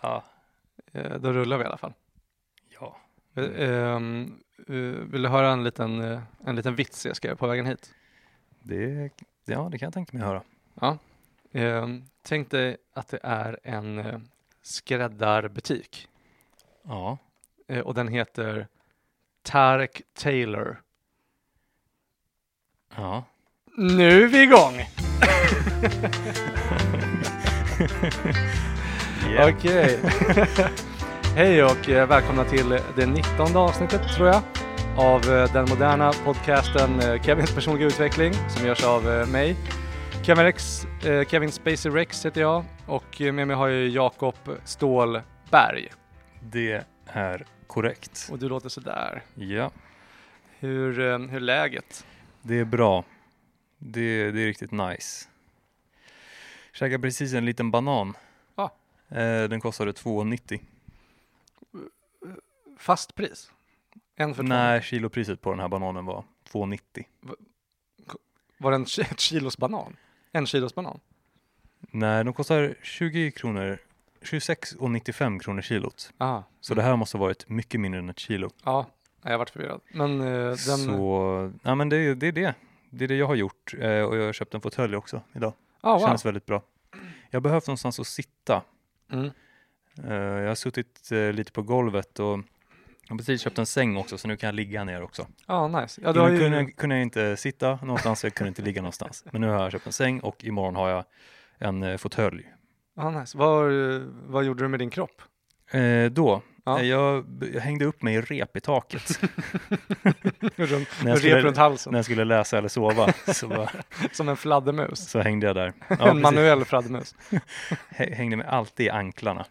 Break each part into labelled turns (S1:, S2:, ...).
S1: Ja.
S2: Eh, Då rullar vi i alla fall.
S1: Ja.
S2: Eh, ehm, eh, Vill du höra en liten, eh, en liten vits jag skrev på vägen hit?
S1: Det, ja, det kan jag tänka mig höra.
S2: Ehm, Tänk dig att det är en eh, skräddarbutik
S1: Ja.
S2: eh, och den heter Tarek Taylor.
S1: Ja.
S2: Nu är vi igång!
S1: Yeah.
S2: Okej. Hej och eh, välkomna till det 19 avsnittet tror jag av eh, den moderna podcasten eh, Kevins personliga utveckling som görs av eh, mig. Kevin, Rex, eh, Kevin Spacey Rex heter jag och eh, med mig har jag Jakob Stålberg.
S1: Det är korrekt.
S2: Och du låter sådär.
S1: Ja,
S2: Hur, eh, hur är läget?
S1: det är bra. Det, det är riktigt nice. Käkade precis en liten banan.
S2: Ja.
S1: Eh, den kostade 2,90.
S2: Fast pris? En för två?
S1: Nej, kilopriset på den här bananen var 2,90.
S2: Var det en, ki- ett kilos banan? En kilos banan?
S1: Nej, de kostar 20 kronor, 26,95 kronor kilot.
S2: Ah,
S1: Så det här måste ha varit mycket mindre än ett kilo.
S2: ja, jag varit förvirrad. Men eh, den...
S1: Så, ja men det, det är det. Det är det jag har gjort eh, och jag har köpt en fåtölj också idag.
S2: Ah, wow.
S1: Känns väldigt bra. Jag har behövt någonstans att sitta.
S2: Mm.
S1: Eh, jag har suttit eh, lite på golvet och jag har precis köpt en säng också så nu kan jag ligga ner också.
S2: Ja, nice. Ja, du har
S1: Innan
S2: ju...
S1: kunde, jag, kunde jag inte sitta någonstans, jag kunde inte ligga någonstans. Men nu har jag köpt en säng och imorgon har jag en eh, fåtölj.
S2: Ja, Ah, nice. vad, vad gjorde du med din kropp?
S1: Eh, då,
S2: Ja.
S1: eh, jag, b- jag hängde upp mig i rep i taket
S2: runt,
S1: När jag
S2: rep
S1: skulle-
S2: runt halsen,
S1: när jag skulle läsa eller sova. Så, bara,
S2: som en fladdermus.
S1: så hängde jag där. Ja,
S2: en
S1: precis.
S2: manuell fladdermus.
S1: Hä- Hängde mig alltid i anklarna.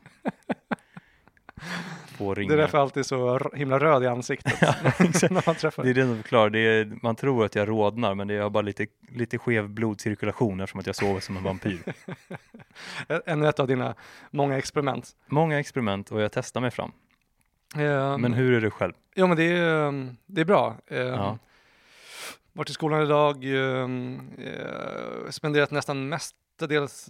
S1: På
S2: Det
S1: ringar.
S2: är därför jag alltid är så r- himla röd i ansiktet när man träffar.
S1: Det är det som förklarar. Det är, man tror att jag rodnar, men det är bara lite, lite skev blodcirkulation eftersom att jag sover som en vampyr.
S2: Ännu ett av dina många experiment.
S1: Många experiment och jag testar mig fram.
S2: Eh,
S1: Men hur är det själv?
S2: Jo, men det är, ehm, det är bra. Eh,
S1: Ja.
S2: Varit i skolan idag, ehm, eh, spenderat nästan mestadels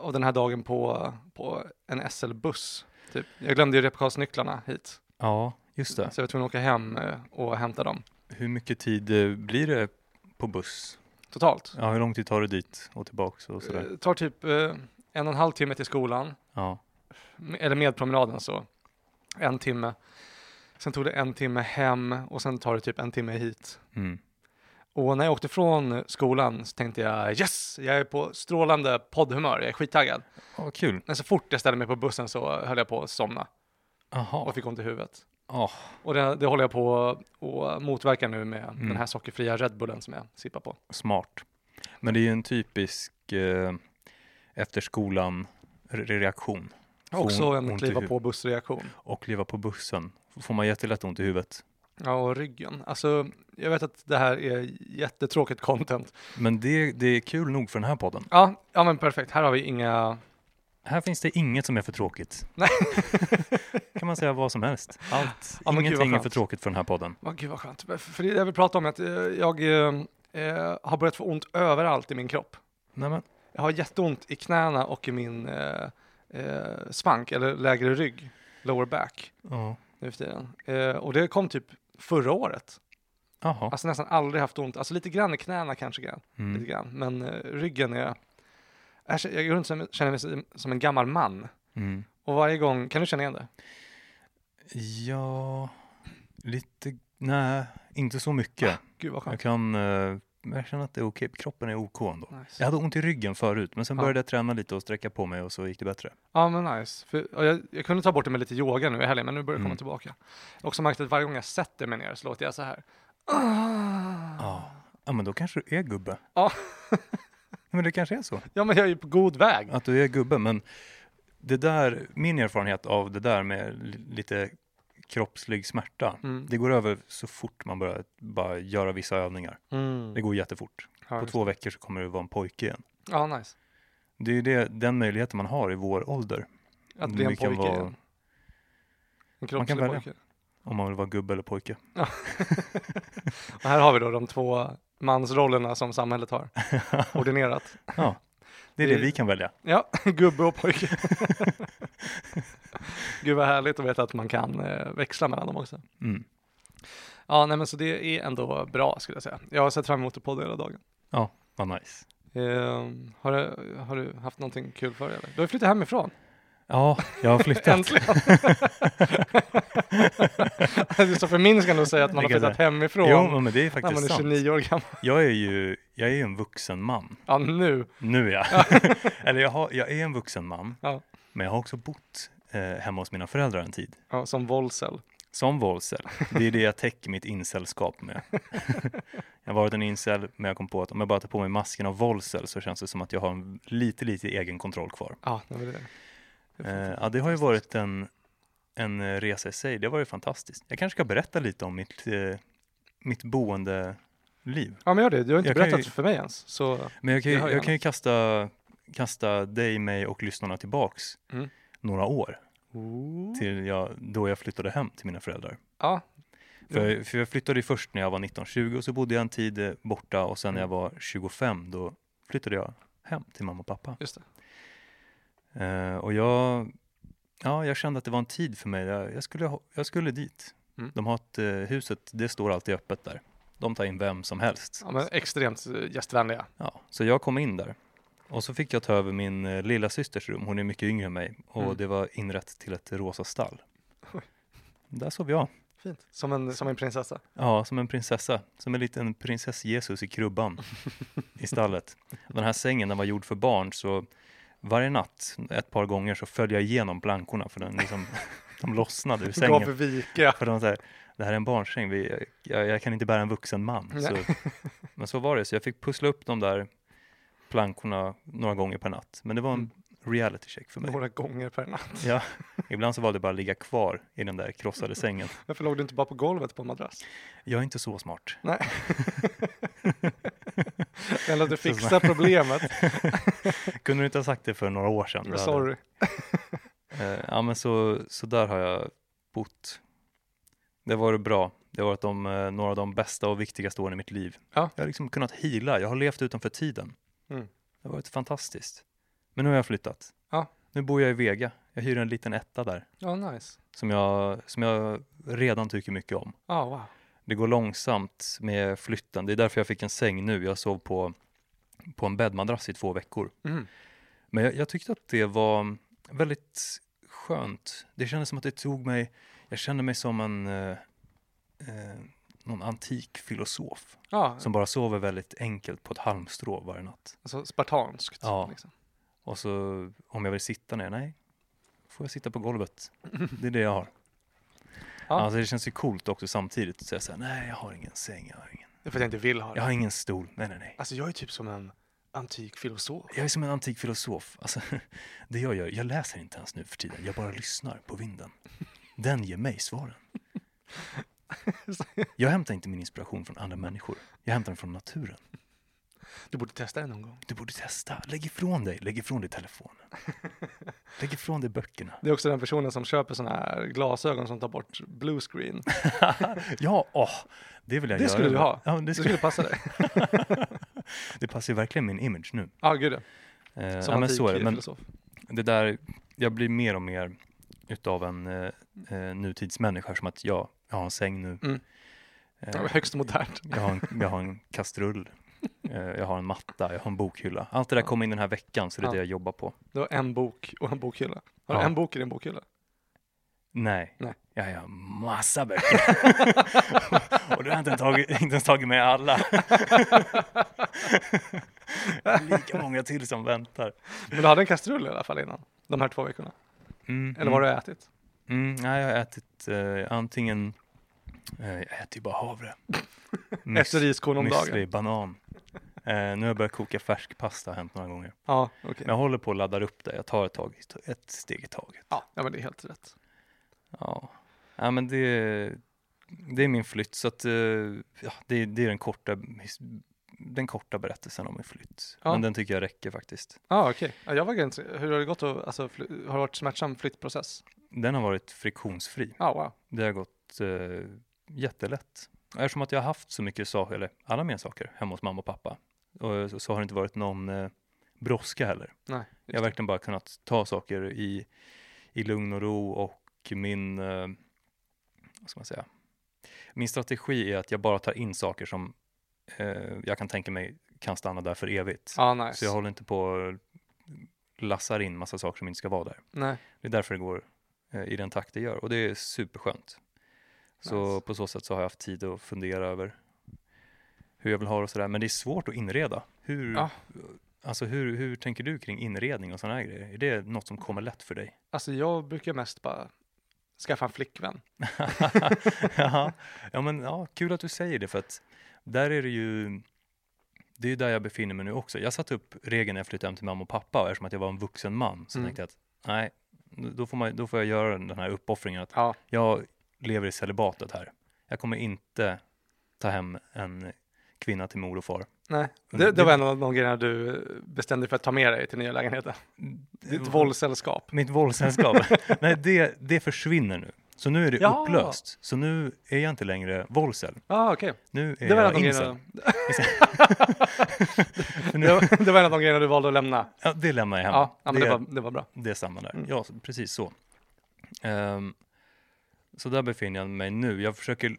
S2: av den här dagen på, på en SL-buss. Typ. Jag glömde ju repkarlsnycklarna hit,
S1: Ja, just det.
S2: så jag var tvungen att åka hem eh, och hämta dem
S1: Hur mycket tid eh, blir det på buss?
S2: totalt.
S1: Ja, hur lång tid tar det dit och tillbaks och sådär?
S2: Eh, tar typ eh, en och en halv timme till skolan,
S1: Ja,
S2: m- eller med promenaden så, en timme. Sen tog det en timme hem och sen tar det typ en timme hit.
S1: mm.
S2: Och när jag åkte från skolan så tänkte jag yes, jag är på strålande poddhumör, jag är skittaggad.
S1: ja kul.
S2: Men så fort jag ställde mig på bussen så höll jag på att somna
S1: Jaha,
S2: och fick ont i huvudet.
S1: Ja,
S2: Och det, det håller jag på att motverka nu med
S1: Mm.
S2: den här sockerfria Red Bullen som jag sippar på.
S1: smart. Men det är ju en typisk eh, efter skolan re- reaktion. Får
S2: Också
S1: ont-
S2: en
S1: ont i
S2: kliva
S1: huvudet.
S2: på bussreaktion.
S1: Och leva på bussen. Får man jättelätt ont i huvudet.
S2: Ja, och ryggen. Alltså, jag vet att det här är jättetråkigt content.
S1: Men det, det är kul nog för den här podden.
S2: Ja, ja men perfekt. Här har vi inga...
S1: Här finns det inget som är för tråkigt.
S2: Nej.
S1: kan man säga vad som helst. Allt,
S2: Ja, men gud, vad
S1: ingenting är
S2: skönt.
S1: för tråkigt för den här podden.
S2: Åh gud vad skönt. För- För det jag vill prata om är att eh, jag eh, eh, har börjat få ont överallt i min kropp.
S1: Nej, men,
S2: Jag har jätteont i knäna och i min eh, eh, svank, eller lägre rygg, lower back,
S1: ja.
S2: nu för tiden. Eh, och det kom typ förra året.
S1: Jaha.
S2: Alltså nästan aldrig haft ont. Alltså lite grann i knäna kanske, grann,
S1: Mm.
S2: lite grann. men eh, ryggen är... Jag känner- jag går runt som, känner mig som- som en gammal man.
S1: Mm.
S2: Och varje gång, kan du känna igen det?
S1: Ja, lite, nej, inte så mycket.
S2: Gud vad
S1: Jag
S2: Ah, skönt.
S1: kan, eh, jag känner att det är okej, kroppen är OK ändå.
S2: Nice.
S1: Jag hade ont i ryggen förut, men sen
S2: Ja.
S1: började jag träna lite och sträcka på mig och så gick det bättre.
S2: Ja men nice. För, ja, jag, jag kunde ta bort det med lite yoga nu i helgen men nu börjar det komma
S1: Mm.
S2: tillbaka. Jag har också märkt att varje gång jag sätter mig ner så låter jag så här. Ah.
S1: Ja, ja men då kanske du är gubbe.
S2: Ja.
S1: men det kanske är så.
S2: Ja men jag är ju på god väg.
S1: att du är gubbe, men det där, min erfarenhet av det där med li- lite kroppslig smärta,
S2: Mm.
S1: det går över så fort man börjar bara göra vissa övningar. Det
S2: Mm.
S1: går jättefort.
S2: Ja,
S1: På
S2: just-
S1: två veckor så kommer du vara en pojke igen.
S2: ja nice.
S1: Det är ju det, den möjligheten man har i vår ålder,
S2: Att bli en
S1: Vi kan
S2: pojke
S1: vara-
S2: igen. En
S1: Man kan
S2: kroppslig
S1: välja.
S2: pojke.
S1: om man vill vara gubbe eller pojke.
S2: Och här har vi då de två mansrollerna som samhället har ordinerat.
S1: Ja. Det är det
S2: Vi-
S1: vi kan välja.
S2: Ja, gubbe och pojke. Gud vad härligt att veta att man kan eh, växla mellan dem också.
S1: Mm.
S2: Ja, nej men så det är ändå bra skulle jag säga. Jag har sett fram emot att podda hela dagen.
S1: Ja, vad nice.
S2: Ehm, har, du, har du haft någonting kul för dig eller? Du har ju flyttat hemifrån.
S1: Ja, jag har flyttat.
S2: Äntligen! det är så förminskande att säga att man har
S1: Det kan jag
S2: flyttat hemifrån
S1: jo, men det är
S2: när man
S1: faktiskt
S2: är
S1: sant.
S2: 29 år gammal.
S1: Jag är ju jag är ju en vuxen man.
S2: Ja, nu.
S1: Nu är jag. Eller jag, har, jag är en vuxen man.
S2: Ja.
S1: Men jag har också bott eh, hemma hos mina föräldrar en tid.
S2: Ja, som Volsel.
S1: Som volsel. Det är det jag täcker mitt incelskap med. jag har varit en incel, men jag kom på att om jag bara tar på mig masken av volsel så känns det som att jag har en lite, lite egen kontroll kvar.
S2: Ja, nej, men det,
S1: Eh, ja, det har ju varit en, en eh, resa i sig. Det var ju fantastiskt. Jag kanske ska berätta lite om mitt, eh, mitt boendeliv.
S2: ja, men gör det. Du har inte
S1: Jag kan
S2: berättat
S1: ju-
S2: för mig ens. Så
S1: Men jag kan ju,
S2: Det hör jag
S1: jag kan ju kasta, kasta dig, mig och lyssnarna tillbaks
S2: Mm.
S1: några år till jag, då jag flyttade hem till mina föräldrar.
S2: Ja, Mm.
S1: För, för jag flyttade ju först när jag var 19-20 och så bodde jag en tid eh, borta och sen när jag
S2: Mm.
S1: var 25 då flyttade jag hem till mamma och pappa.
S2: just det.
S1: Eh, och jag, ja, jag kände att det var en tid för mig. Jag, jag, skulle, ha- jag skulle dit.
S2: Mm.
S1: De har ett, eh, huset, det står alltid öppet där. De tar in vem som helst.
S2: Ja, men extremt eh, gästvänliga.
S1: Ja, så jag kom in där. Och så fick jag ta över min eh, lilla systers rum. Hon är mycket yngre än mig. Och
S2: Mm.
S1: det var inrett till ett rosa stall.
S2: Oj.
S1: Där sov jag.
S2: Fint. Som en, som en prinsessa.
S1: Ja, som en prinsessa. Som en liten prinsess Jesus i krubban i stallet. Den här sängen den var gjord för barn så varje natt ett par gånger så föll jag igenom plankorna för den liksom, de lossnade ur
S2: Gav
S1: sängen.
S2: vika.
S1: För de säger, det här är en barnsäng, vi, jag, jag kan inte bära en vuxen man. Så, men så var det, så jag fick pussla upp de där plankorna några gånger per natt. Men det var en reality check för mig.
S2: Några gånger per natt.
S1: Ja, ibland så var det bara att ligga kvar i den där krossade sängen.
S2: Varför låg du inte bara på golvet på en madrass?
S1: Jag är inte så smart.
S2: Eller att du fixar problemet.
S1: Kunde du inte ha sagt det för några år sedan? Då hade-
S2: Sorry.
S1: Eh, ja, men så, så där har jag bott. Det har varit bra. Det har varit de, eh, några av de bästa och viktigaste åren i mitt liv.
S2: Ja.
S1: Jag har liksom kunnat hila. Jag har levt utanför tiden.
S2: Mm.
S1: Det har varit fantastiskt. Men nu har jag flyttat.
S2: Ja.
S1: Nu bor jag i Vega. Jag hyr en liten etta där
S2: Ja, nice.
S1: som jag, som jag redan tycker mycket om.
S2: Ja, wow.
S1: Det går långsamt med flytten. Det är därför jag fick en säng nu. Jag sov på, på en bäddmadrass i två veckor.
S2: Mm.
S1: Men jag, jag tyckte att det var väldigt skönt. Det kändes som att det tog mig, jag kände mig som en eh, eh, någon antik filosof
S2: Ja,
S1: som bara sover väldigt enkelt på ett halmstrå varje natt.
S2: alltså spartanskt.
S1: Ja.
S2: Liksom.
S1: Och så om jag vill sitta ner, nej, får jag sitta på golvet. Det är det jag har.
S2: Ja.
S1: Alltså det känns ju coolt också samtidigt att säga så här, nej jag har ingen säng, jag har ingen,
S2: Det är för att jag inte vill ha det.
S1: jag har ingen stol, nej nej nej.
S2: Alltså, jag är typ som en antik filosof.
S1: Jag är som en antik filosof. Alltså, det jag gör, jag läser inte ens nu för tiden. Jag bara lyssnar på vinden. Den ger mig svaren. Jag hämtar inte min inspiration från andra människor. Jag hämtar den från naturen.
S2: Du borde testa det någon gång.
S1: Du borde testa. Lägg ifrån dig. Lägg ifrån dig telefonen. Lägg ifrån dig böckerna.
S2: Det är också den personen som köper sådana här glasögon som tar bort blue screen.
S1: Ja, åh, det vill jag
S2: Det
S1: göra.
S2: skulle du ha.
S1: Ja, det,
S2: Det
S1: skulle,
S2: skulle passa dig.
S1: det passar ju verkligen min image nu.
S2: Ja, gud ja.
S1: Eh,
S2: Som
S1: ja, men
S2: antik
S1: så är det. Men
S2: filosof.
S1: det där, jag blir mer och mer utav en eh, eh, nutidsmänniska som att jag, jag har en säng nu.
S2: Mm.
S1: Eh,
S2: Ja, högst modernt.
S1: jag, har en, jag har en kastrull, eh, jag har en matta, jag har en bokhylla. Allt det där kom in den här veckan så det är
S2: Ja.
S1: det jag jobbar på.
S2: Du har en bok och en bokhylla. Har du
S1: Ja.
S2: en bok i din bokhylla?
S1: Nej,
S2: Nej.
S1: jag har massa böcker. och du har jag inte, tagit, inte ens tagit med alla. Lika många till som väntar.
S2: Men du hade en kastrull i alla fall innan. De här två veckorna.
S1: Mm,
S2: Eller vad har du ätit?
S1: Mm, nej, jag har ätit eh, antingen, eh, jag äter ju bara havre. Müs-
S2: Ett riskorn om dagen?
S1: Müsli, banan. Eh, nu har jag börjat koka färsk pasta, har hänt några gånger.
S2: Ja, okej.
S1: Men jag håller på och laddar upp det, jag tar ett, tag, ett steg i taget.
S2: Ja, ja, men det är helt rätt.
S1: Ja, ja men det, det är min flytt, så att, eh, ja, det, det är den korta, his- den korta berättelsen om min flytt.
S2: Ja.
S1: Men den tycker jag räcker faktiskt.
S2: Ja, okej. Ja, jag var ganska... Hur har det gått att... Alltså, fly- har det varit smärtsam flyttprocess?
S1: Den har varit friktionsfri.
S2: Ja, wow.
S1: Det har gått eh, jättelätt. Och Eftersom att jag har haft så mycket saker, eller alla mina saker, hemma hos mamma och pappa, och, så, så har det inte varit någon, eh, brådska heller.
S2: Nej, just
S1: Jag har verkligen bara kunnat ta saker i, i lugn och ro och min, eh, vad ska man säga, min strategi är att jag bara tar in saker som eh, jag kan tänka mig kan stanna där för evigt.
S2: Ja, Ah, nice.
S1: Så jag håller inte på och lassar in massa saker som inte ska vara där.
S2: Nej,
S1: Det är därför det går eh, i den takt det gör och det är superskönt. Så
S2: Nice.
S1: på så sätt så har jag haft tid att fundera över hur jag vill ha det och sådär. Men det är svårt att inreda. Hur,
S2: Ja.
S1: alltså hur, hur tänker du kring inredning och sådana här grejer? Är det något som kommer lätt för dig?
S2: alltså jag brukar mest bara skaffa en flickvän.
S1: ja. ja, men ja, kul att du säger det för att där är det ju det är ju där jag befinner mig nu också. Jag satte upp regeln när jag flyttade hem till mamma och pappa och eftersom att jag var en vuxen man så
S2: Mm.
S1: tänkte jag att nej, då får, man, då får jag göra den här uppoffringen att
S2: Ja,
S1: jag lever i celibatet här. Jag kommer inte ta hem en kvinna till mor och far.
S2: nej.
S1: Det-
S2: Det, det var en av de grejerna du bestämde för att ta med dig till nya lägenheten. Ditt våldssällskap.
S1: Mitt våldssällskap. Nej, det, det försvinner nu. Så nu är det
S2: Ja.
S1: upplöst. Så nu är jag inte längre våldsel.
S2: Ja, ah, okej.
S1: Nu är
S2: Det var en av
S1: jag
S2: de
S1: incel.
S2: grejerna-
S1: För nu,
S2: det var- det var en av de grejerna du valde att lämna.
S1: ja, det lämnar jag hem.
S2: Ja, ja men
S1: det,
S2: det, var, det var bra.
S1: det är samma där.
S2: Mm.
S1: Ja, så- precis så. Ehm, så där befinner jag mig nu. Jag försöker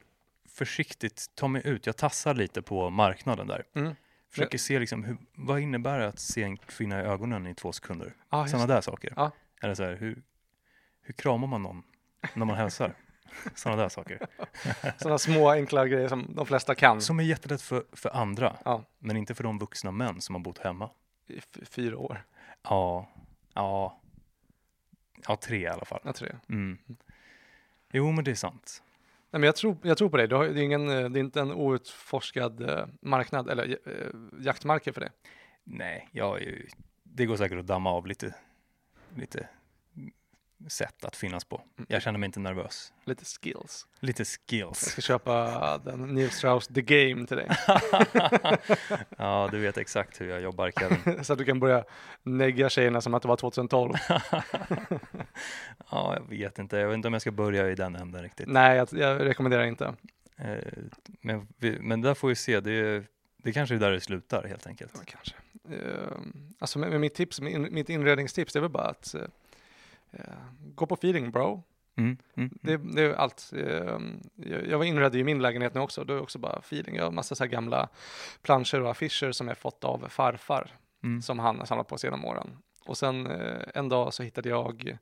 S1: försiktigt ta mig ut. Jag tassar lite på marknaden där.
S2: Mm.
S1: Försöker se liksom, hur, vad innebär det att se en kvinna i ögonen i två sekunder?
S2: Ah, just,
S1: Sådana där saker.
S2: Ja.
S1: Eller så här, hur, hur kramar man någon när man hälsar? Sådana där saker.
S2: Mm. sådana små enkla grejer som de flesta kan.
S1: Som är jättelätt för, för andra,
S2: Ja.
S1: men inte för de vuxna män som har bott hemma.
S2: I f- fyra år,
S1: Ja, ja, ja tre i alla fall.
S2: jag tror det.
S1: Mm. Jo, men det är sant.
S2: Nej, men jag, tror, jag tror på dig. Du har, det, är ingen, eh, det är inte en outforskad eh, marknad eller eh, jaktmarker för det.
S1: Nej, jag är ju, det går säkert att damma av lite, lite sätt att finnas på. Jag känner mig inte nervös.
S2: Mm. Lite skills.
S1: Lite
S2: Jag
S1: skills.
S2: ska köpa den Neil Strauss The Game till dig
S1: ja, du vet exakt hur jag jobbar Kevin.
S2: så att du kan börja negga tjejerna som att det var 2012.
S1: ja, jag vet inte. Jag vet inte om jag ska börja i den änden riktigt.
S2: Nej, jag, jag rekommenderar inte.
S1: Eh, men, vi, men där får vi se. Det, är- det kanske är där det slutar helt enkelt.
S2: Ja, Kanske. Ehm, alltså, men, men mitt tips, min, mitt inredningstips, det är väl bara att eh, eh, gå på feeling bro.
S1: Mm, mm,
S2: Det, det är allt. Ehm, Jag jag var inredd i min lägenhet nu också. Det är också bara feeling. Jag har massa så här gamla planscher och affischer som jag fått av farfar
S1: mm.
S2: som han har samlat på sig genom åren. Och sen eh, en dag så hittade jag,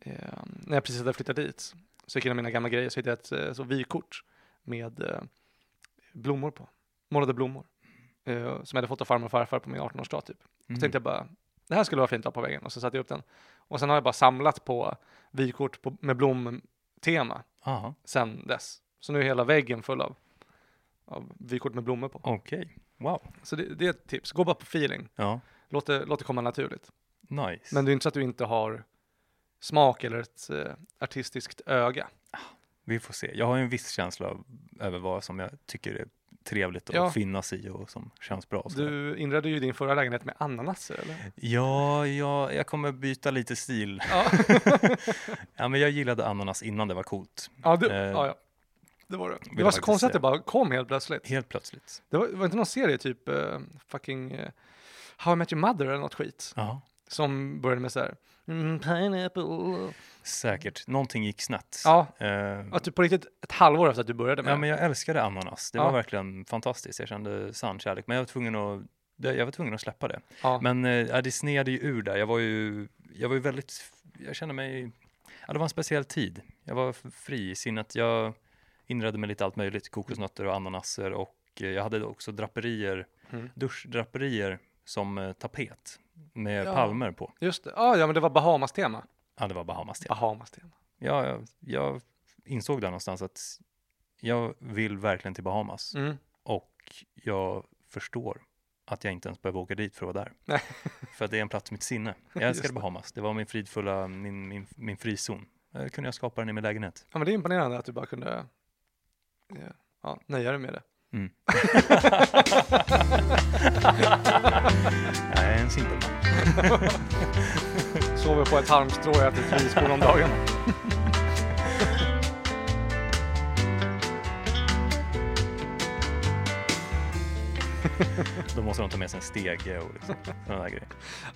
S2: eh, när jag precis hade flyttat dit, så gick jag igenom mina gamla grejer, så hittade jag ett eh, så vykort med eh, blommor på. Målade blommor. Eh, som jag hade fått av farmor och farfar på min 18-årsdag typ.
S1: Mm.
S2: Så tänkte jag bara, det här skulle vara fint att ha på väggen. Och så satte jag upp den. Och sen har jag bara samlat på vykort på, med blomtema
S1: Aha,
S2: sen dess. Så nu är hela väggen full av, av vykort med blommor på.
S1: okej. Wow.
S2: Så det, det är ett tips. Gå bara på feeling.
S1: Ja,
S2: Låt det, låt det komma naturligt.
S1: nice.
S2: Men det är inte så att du inte har smak eller ett eh, artistiskt öga.
S1: Vi får se. Jag har ju en viss känsla av, över vad som jag tycker är trevligt att
S2: Ja.
S1: finnas i och som känns bra. och så där.
S2: Du inredde ju din förra lägenhet med ananaser, eller?
S1: Ja, ja, jag kommer byta lite stil.
S2: Ja,
S1: Ja, men jag gillade ananas innan det var coolt.
S2: ja, du,
S1: Eh,
S2: ja, ja. det var det. Det
S1: jag
S2: var så
S1: faktiskt
S2: konstigt att det
S1: säga.
S2: bara kom helt plötsligt.
S1: Helt plötsligt.
S2: Det var, var inte någon serie, typ eh, fucking eh, How I Met Your Mother eller något skit,
S1: Ja,
S2: som började med så här, mm, pineapple.
S1: säkert. Någonting gick snett.
S2: Ja,
S1: Eh,
S2: att du på riktigt ett halvår efter att du började med
S1: Ja,
S2: det.
S1: men jag älskade ananas. Det
S2: Ja.
S1: var verkligen fantastiskt. Jag kände sann kärlek, men jag var tvungen att det- jag var tvungen att släppa det.
S2: ja.
S1: Men eh, ja, det sneade ju ur där. Jag var ju, jag var ju väldigt, jag kände mig, ja, det var en speciell tid. Jag var f- fri i sinnet. Jag inredde mig lite allt möjligt, kokosnötter och ananaser och eh, jag hade också draperier,
S2: Mm.
S1: duschdraperier som eh, tapet med
S2: Ja.
S1: palmer på.
S2: Just det. Ah, ja, men det var Bahamas-tema.
S1: Ja, det var Bahamas till.
S2: Bahamas-tema.
S1: Ja, jag, jag insåg där någonstans att jag vill verkligen till Bahamas.
S2: Mm.
S1: Och jag förstår att jag inte ens behöver åka dit för att vara där.
S2: Nej.
S1: För att det är en plats i mitt sinne. Jag
S2: Just
S1: älskade
S2: det.
S1: Bahamas. Det var min fridfulla, min, min, min frizon. Eh, kunde jag skapa den i min lägenhet.
S2: Ja, men det är imponerande att du bara kunde eh, ja, nöja dig med det.
S1: Mm. Jag är en simpelman.
S2: Sover på ett halmstrå och äter ett riskorn om dagen.
S1: Då måste de ta med sig en stege och liksom, sådana där grejer.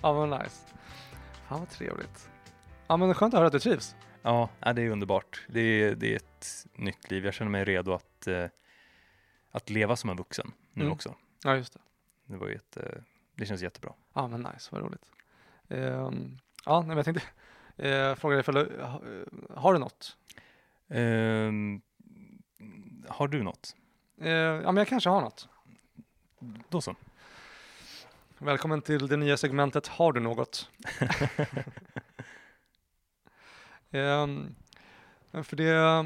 S2: Ja, vad nice. Fan vad trevligt. Ja, men skönt att höra att du trivs.
S1: Ja, ja, det är underbart. Det är, det är ett nytt liv. Jag känner mig redo att, eh, att leva som en vuxen nu
S2: Mm.
S1: också.
S2: Ja, just det.
S1: Det, var ju ett, eh, det känns jättebra.
S2: Ja, men nice, vad roligt. Ehm, ja, nej, men jag tänkte eh, fråga dig ifall du, ha- eh, har du något?
S1: Ehm, har du något?
S2: Eh, ja, men jag kanske har något.
S1: Då så.
S2: Välkommen till det nya segmentet Har du något? Ehm, för det...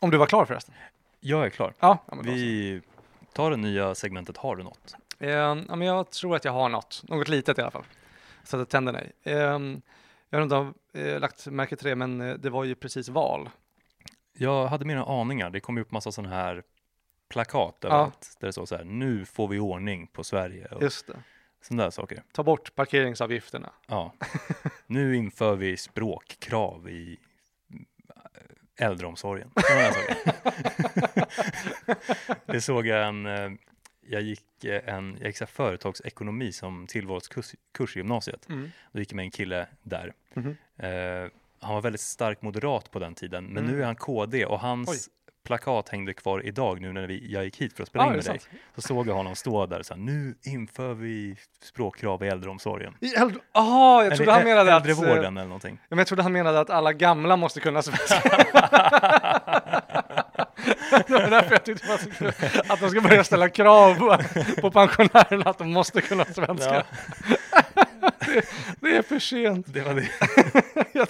S2: Om du var klar förresten?
S1: Jag är klar.
S2: Ja, ja men då så.
S1: Vi tar det nya segmentet Har du något?
S2: Ehm, ja, men jag tror att jag har något, något litet i alla fall. Så att det tänder dig. Ehm, jag har inte om du har, eh, lagt märke till det, men eh, det var ju precis val.
S1: Jag hade mina aningar. Det kom ju upp massa sådana här plakat överallt där det står så här, nu får vi ordning på Sverige och
S2: Just det.
S1: sådana där saker.
S2: Ta bort parkeringsavgifterna.
S1: Ja. nu inför vi språkkrav i äh, äldreomsorgen. Sådana där saker. det såg jag en, eh, jag gick eh, en, jag gick så här företagsekonomi som tillvalskurs kurs i gymnasiet. Då gick jag med en kille där.
S2: Mhm.
S1: Eh, han var väldigt stark moderat på den tiden, men
S2: Mm.
S1: nu är han KD och hans plakat hängde kvar idag nu när vi, jag gick hit för att spela
S2: Ja,
S1: in
S2: är
S1: med
S2: det
S1: dig. Så såg jag honom stå där och sa, nu inför vi språkkrav i äldreomsorgen.
S2: I äldre... Ah, jag trodde han
S1: Eller ä-
S2: menade att... eh,
S1: Äldrevården eller någonting.
S2: Ja, men jag trodde han menade att alla gamla måste kunna svenska. det var därför jag tyckte det var så kul. Att de ska börja ställa krav på, på pensionärerna att de måste kunna svenska.
S1: Ja,
S2: Det är för sent.
S1: det var det.
S2: Ja,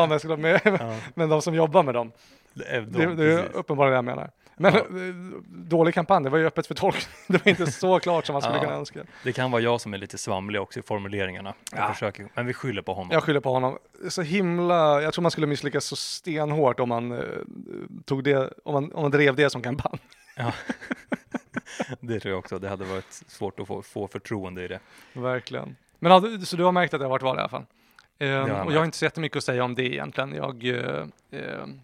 S2: men, jag skulle ha med,
S1: Ja,
S2: men de som jobbar med dem.
S1: det, är de,
S2: Det, det är
S1: precis.
S2: uppenbarligen det jag menar. Men
S1: Ja.
S2: eh, dålig kampanj, det var ju öppet för tolkning. Det var inte så klart som man skulle
S1: Ja.
S2: kunna önska.
S1: det kan vara jag som är lite svamlig också i formuleringarna. Jag
S2: Ja.
S1: försöker, men vi skyller på honom.
S2: Jag skyller på honom. Så himla, jag tror man skulle misslyckas så stenhårt om man, eh, tog det, om man, om man drev det som kampanj.
S1: Det tror jag också. Det hade varit svårt att få, få förtroende i det.
S2: Verkligen. Men ja, du- så du har märkt att det har varit val i alla fall? Ehm,
S1: har jag
S2: och jag har
S1: märkt.
S2: inte så jättemycket att säga om det egentligen. Jag, eh, ehm,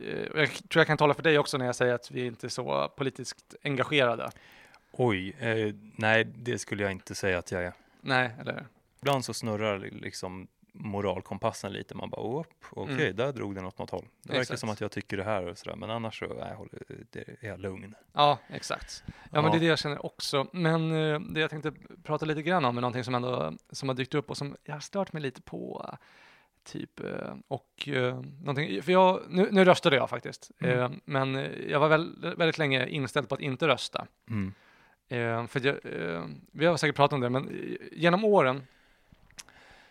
S2: eh, och jag tror jag kan tala för dig också när jag säger att vi inte är så politiskt engagerade.
S1: Oj, eh, nej, det skulle jag inte säga att jag är.
S2: Nej, eller
S1: Ibland så snurrar li- liksom moralkompassen lite. Man bara, "Oop, okej,
S2: Mm.
S1: där drog den åt något håll. Det verkar
S2: Exakt.
S1: som att jag tycker det här och sådär, men annars så nej, jag håller, det är jag lugn.
S2: Ja, exakt. Ja, men
S1: Ja.
S2: det är det jag känner också. Men eh, det jag tänkte prata lite grann om är någonting som ändå som har dykt upp och som jag har stört mig lite på. eh, Typ, eh, och eh, någonting, för jag, nu, nu röstade jag faktiskt,
S1: Mm.
S2: eh, men eh, jag var väl, väldigt länge inställd på att inte rösta.
S1: Mm.
S2: Eh, för att jag, eh, vi har säkert pratat om det, men eh, genom åren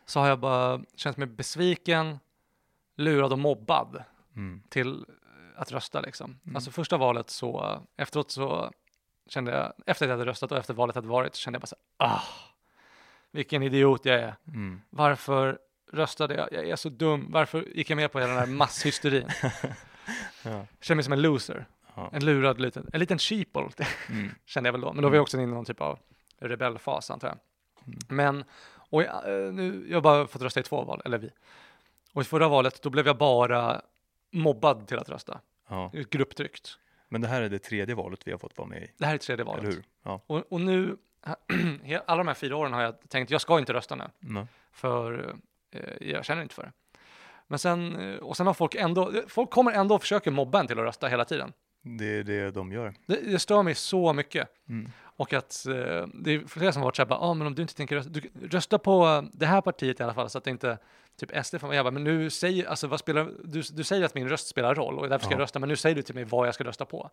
S2: så har jag bara känt mig besviken, lurad och mobbad
S1: Mm.
S2: till att rösta liksom.
S1: Mm.
S2: Alltså första valet så, eh, efteråt så kände jag, efter att jag hade röstat och efter valet hade varit, så kände jag bara så här, ah, vilken idiot jag är.
S1: Mm.
S2: Varför röstade jag? Jag är så dum. Varför gick jag med på hela den här masshysterin?
S1: Ja.
S2: Känner mig som en loser,
S1: Ja.
S2: en lurad liten, en liten sheeple
S1: Mm.
S2: kände jag väl då. Men då var jag också inne i någon typ av rebellfas antar jag.
S1: Mm.
S2: Men, och jag, eh, nu, jag har bara fått rösta i två val, eller vi. Och i förra valet, då blev jag bara mobbad till att rösta.
S1: Ja.
S2: Grupptryckt.
S1: Men det här är det tredje valet vi har fått vara med i,
S2: Det här är tredje valet.
S1: eller hur? Ja.
S2: Och, och nu, he- alla de här fyra åren har jag tänkt, jag ska inte rösta nu,
S1: Mm.
S2: för eh, jag känner inte för det. Men sen, eh, och sen har folk ändå, folk kommer ändå och försöker mobba en till att rösta hela tiden.
S1: Det är det de gör.
S2: Det, det stör mig så mycket.
S1: Mm.
S2: Och att eh, det är flera som har varit så här, bara, ah, men om du inte tänker rösta, du, rösta på eh, det här partiet i alla fall så att det inte, typ SD, får- jag bara, men nu säger, alltså vad spelar, du, du säger att min röst spelar roll och därför ska
S1: Ja.
S2: jag rösta, men nu säger du till mig vad jag ska rösta på.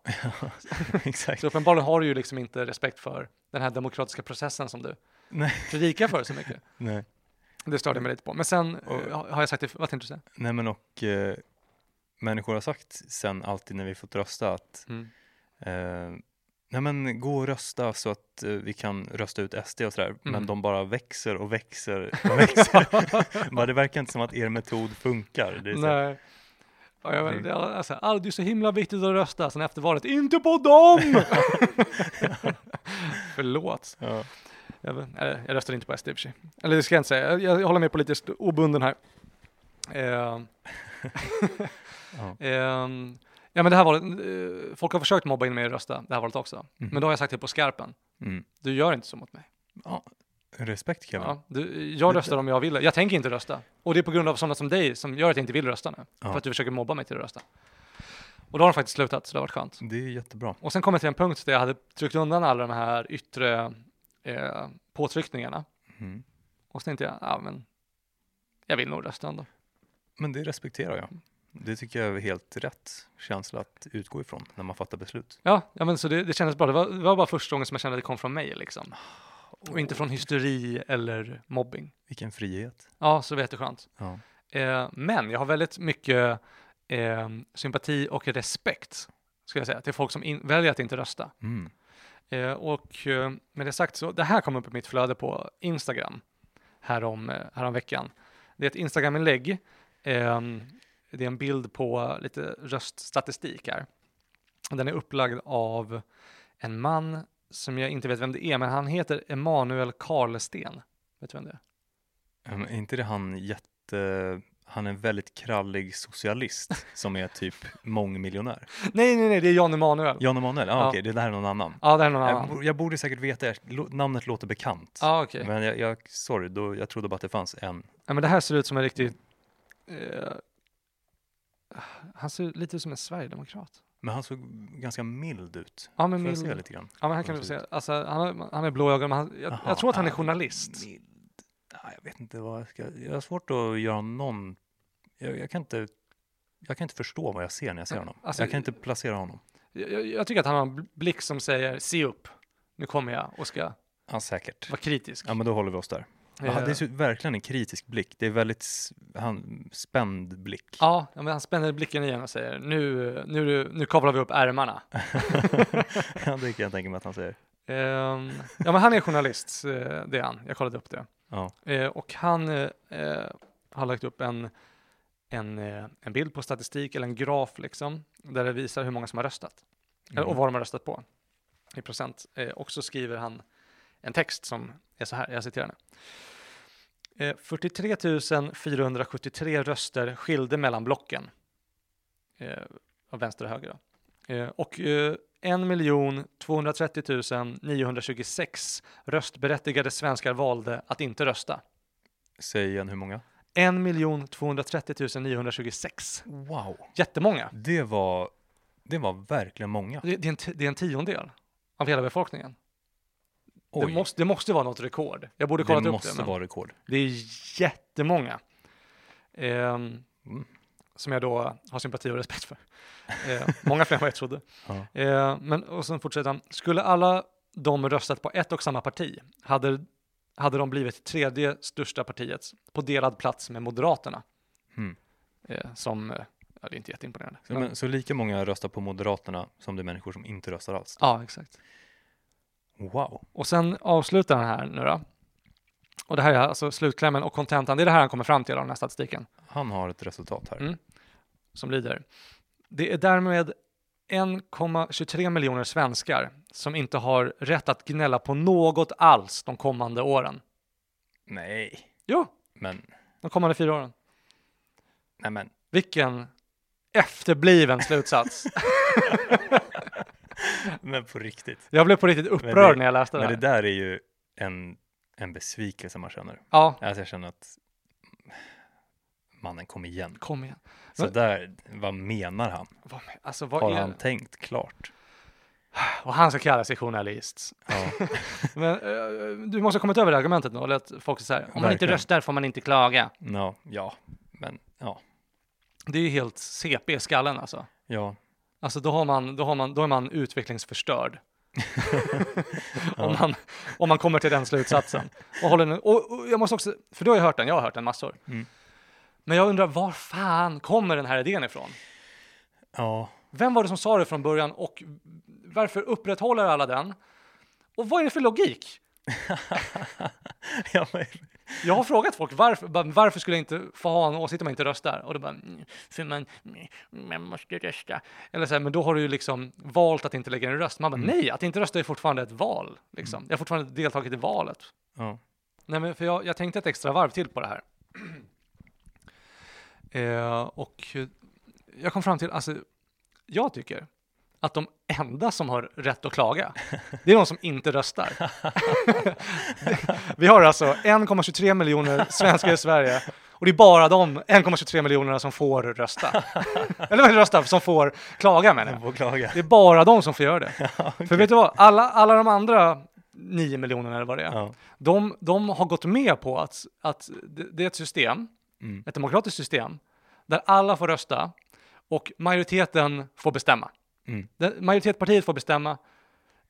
S1: Exakt.
S2: Så uppenbarligen har du ju liksom inte respekt för den här demokratiska processen som du
S1: Nej.
S2: predikar för så mycket.
S1: Nej.
S2: Det störde jag mig lite på. Men sen eh,
S1: Och-
S2: har jag sagt det, vad tänkte du säga?
S1: Nej, men och eh, människor har sagt sen alltid när vi fått rösta att Eh, nej men gå och rösta så att eh, vi kan rösta ut SD och sådär.
S2: Mm.
S1: Men de bara växer och växer och växer. bara, det verkar inte som att er metod funkar. Det är så,
S2: Nej. Ja, jag,
S1: Det-
S2: det, alltså, ah, det är så himla viktigt att rösta. Sen efter valet, inte på dem! Förlåt.
S1: ja.
S2: Jag, vet- eller, jag röstar inte på SD i och för sig. Eller det ska jag inte säga. Jag, jag håller med politiskt obunden här. Eh,
S1: Ja.
S2: eh, Ja, men det här valet, eh, folk har försökt mobba in mig i rösta det här valet också. Mhm. Men då har jag sagt det på skarpen.
S1: Mm.
S2: Du gör inte så mot mig.
S1: Ja, respekt Kevin. Ja.
S2: Ja, du, jag röstar om jag vill. Jag tänker inte rösta. Och det är på grund av sådana som dig som gör att jag inte vill rösta nu.
S1: Ja.
S2: För att du försöker mobba mig till att rösta. Och då har de faktiskt slutat, så det har varit skönt.
S1: Det är jättebra.
S2: Och sen kom jag till en punkt där jag hade tryckt undan alla de här yttre eh, påtryckningarna.
S1: Mm.
S2: Och så tänkte jag, ja men, jag vill nog rösta ändå.
S1: Men det respekterar jag. Det tycker jag är helt rätt känsla att utgå ifrån när man fattar beslut.
S2: Ja, ja men så det, det kändes bra. Det var, det var bara första gången som jag kände att det kom från mig liksom. Och inte från hysteri eller mobbing.
S1: Vilken frihet.
S2: Ja, så det var jätteskönt.
S1: Ja.
S2: Eh, men jag har väldigt mycket eh, sympati och respekt, skulle jag säga, till folk som in, väljer att inte rösta.
S1: Mm.
S2: Eh, och eh, med det sagt så, det här kom upp i mitt flöde på Instagram härom, eh, häromveckan. Det är ett Instagram-inlägg. Eh, det är en bild på lite röststatistik här. Den är upplagd av en man som jag inte vet vem det är, men han heter Emanuel Karlsten. Vet du vem det är?
S1: Ja, men Är inte det han jätte... Han är en väldigt krallig socialist som är typ mångmiljonär.
S2: Nej, nej, nej, det är Jan Emanuel. Ja,
S1: Jan Emanuel, ah,
S2: Ja.
S1: okej, det där är någon annan.
S2: det här är någon
S1: Jag,
S2: annan.
S1: bo- jag borde säkert veta, jag- lo- namnet låter bekant.
S2: Ja, okej.
S1: Men jag, jag, sorry, då, jag trodde bara att det fanns en.
S2: Ja, men det här ser ut som en riktig... Eh, han ser lite ut som en sverigedemokrat.
S1: Men han såg ganska mild ut.
S2: Ja, men
S1: Får jag
S2: mild.
S1: se lite grann?
S2: Ja, men här kan du se. Alltså, han, har, han är blå ögon, men han, jag,
S1: Aha,
S2: jag tror att han är
S1: ja.
S2: journalist.
S1: Mild. Ja, jag vet inte vad jag ska... Jag har svårt att göra någon... Jag, jag, kan inte, jag kan inte förstå vad jag ser när jag ser honom.
S2: Alltså-
S1: jag kan inte placera honom.
S2: Jag, jag- jag tycker att han har en bl- blick som säger se upp, nu kommer jag och ska
S1: Ja, säkert.
S2: vara kritisk.
S1: Ja, men då håller vi oss där. Ja,
S2: Eh,
S1: det är så- verkligen en kritisk blick. Det är väldigt s- han, spänd blick.
S2: ja, ja, men han spänner blicken igen och säger nu, nu, är du- nu kavlar vi upp ärmarna.
S1: Ja, det kan jag tänka mig att han säger.
S2: Ehm, ja, men han är journalist, eh, det är han. Jag kollade upp det.
S1: Ja.
S2: Eh, och han eh, eh, har lagt upp en, en, eh, en bild på statistik, eller en graf liksom, där det visar hur många som har röstat. Eller- och
S1: Mm.
S2: vad de har röstat på i procent. Eh, och så skriver han en text som är så här, jag citerar nu. Eh, 43 473 röster skilde mellan blocken. Eh, av vänster och höger då. Eh, och eh, 1 230 926 röstberättigade svenskar valde att inte rösta.
S1: Säg igen hur många?
S2: 1 230 926.
S1: Wow!
S2: Jättemånga.
S1: Det var, det var verkligen många.
S2: Det, det, är en ti- det är en tiondel av hela befolkningen. Det
S1: Oj,
S2: måste, det måste vara något rekord. Jag borde
S1: det
S2: kollat upp
S1: måste
S2: det. Men
S1: vara rekord.
S2: Det är jättemånga. ehm,
S1: Mm.
S2: Som jag då har sympati och respekt för. Eh, många fler än vad jag trodde.
S1: Ja.
S2: Eh, men, och sen fortsätter han. Skulle alla de röstat på ett och samma parti hade, hade de blivit tredje största partiet på delad plats med Moderaterna.
S1: Mm.
S2: Eh, som, eh, ja det är inte jätteimponerande.
S1: Så, men, så lika många röstar på Moderaterna som det är människor som inte röstar alls.
S2: ja, exakt.
S1: Wow!
S2: Och sen avslutar han här nu då. Och det här är alltså slutklämmen och kontentan. Det är det här han kommer fram till av den här statistiken
S1: Han har ett resultat här.
S2: Mm. som lyder. Det är därmed 1,23 miljoner svenskar som inte har rätt att gnälla på något alls de kommande åren.
S1: Nej,
S2: Jo,
S1: men,
S2: de kommande fyra åren.
S1: nej men,
S2: Vilken efterbliven slutsats.
S1: men på riktigt.
S2: jag blev på riktigt
S1: Men
S2: upprörd
S1: det-
S2: när jag läste det
S1: Men det
S2: här.
S1: där är ju en, en besvikelse man känner.
S2: Ja,
S1: Alltså jag känner att mannen kom igen.
S2: kom igen.
S1: Så
S2: Men-
S1: där, vad menar han?
S2: Vad- Alltså,
S1: Har
S2: vad är
S1: han tänkt klart?
S2: Och han ska kalla sig journalist.
S1: Ja,
S2: Men eh, du måste ha kommit över det argumentet då, eller att folk säger om man inte
S1: Verkligen.
S2: röstar får man inte klaga.
S1: ja, ja. men ja,
S2: Det är ju helt CP i skallen alltså.
S1: ja,
S2: Alltså då, har man, då, har man, då är man utvecklingsförstörd. om, man, om man kommer till den slutsatsen. Och, håller den, och, och jag måste också, för du har ju hört den, jag har hört den massor.
S1: Mm.
S2: Men jag undrar, var fan kommer den här idén ifrån?
S1: ja,
S2: Vem var det som sa det från början och varför upprätthåller alla den? Och vad är det för logik?
S1: ja, men,
S2: Jag har frågat folk varför, bara, varför skulle jag inte få ha en åsikt om jag inte röstar? Och då bara, "Mm, för man, mm, man måste rösta. Eller så här, men då har du ju liksom valt att inte lägga in en röst. Man bara, nej, att inte rösta är fortfarande ett val. Liksom. Jag har fortfarande deltagit i valet.
S1: ja,
S2: Nej, men för jag, jag tänkte ett extra varv till på det här. eh, och jag kom fram till, alltså, jag tycker att de enda som har rätt att klaga, det är de som inte röstar. Vi har alltså 1,23 miljoner svenskar i Sverige och det är bara de 1,23 miljonerna som får rösta. Eller vad rösta, som får klaga menar
S1: De
S2: jag.
S1: får klaga.
S2: Det är bara de som får göra det.
S1: Ja, okej.
S2: För vet du vad, alla, alla de andra 9 miljonerna eller vad det är,
S1: Ja.
S2: de, de har gått med på att, att det, det är ett system,
S1: Mm.
S2: ett demokratiskt system, där alla får rösta och majoriteten får bestämma.
S1: Mm.
S2: Den- Majoritetspartiet får bestämma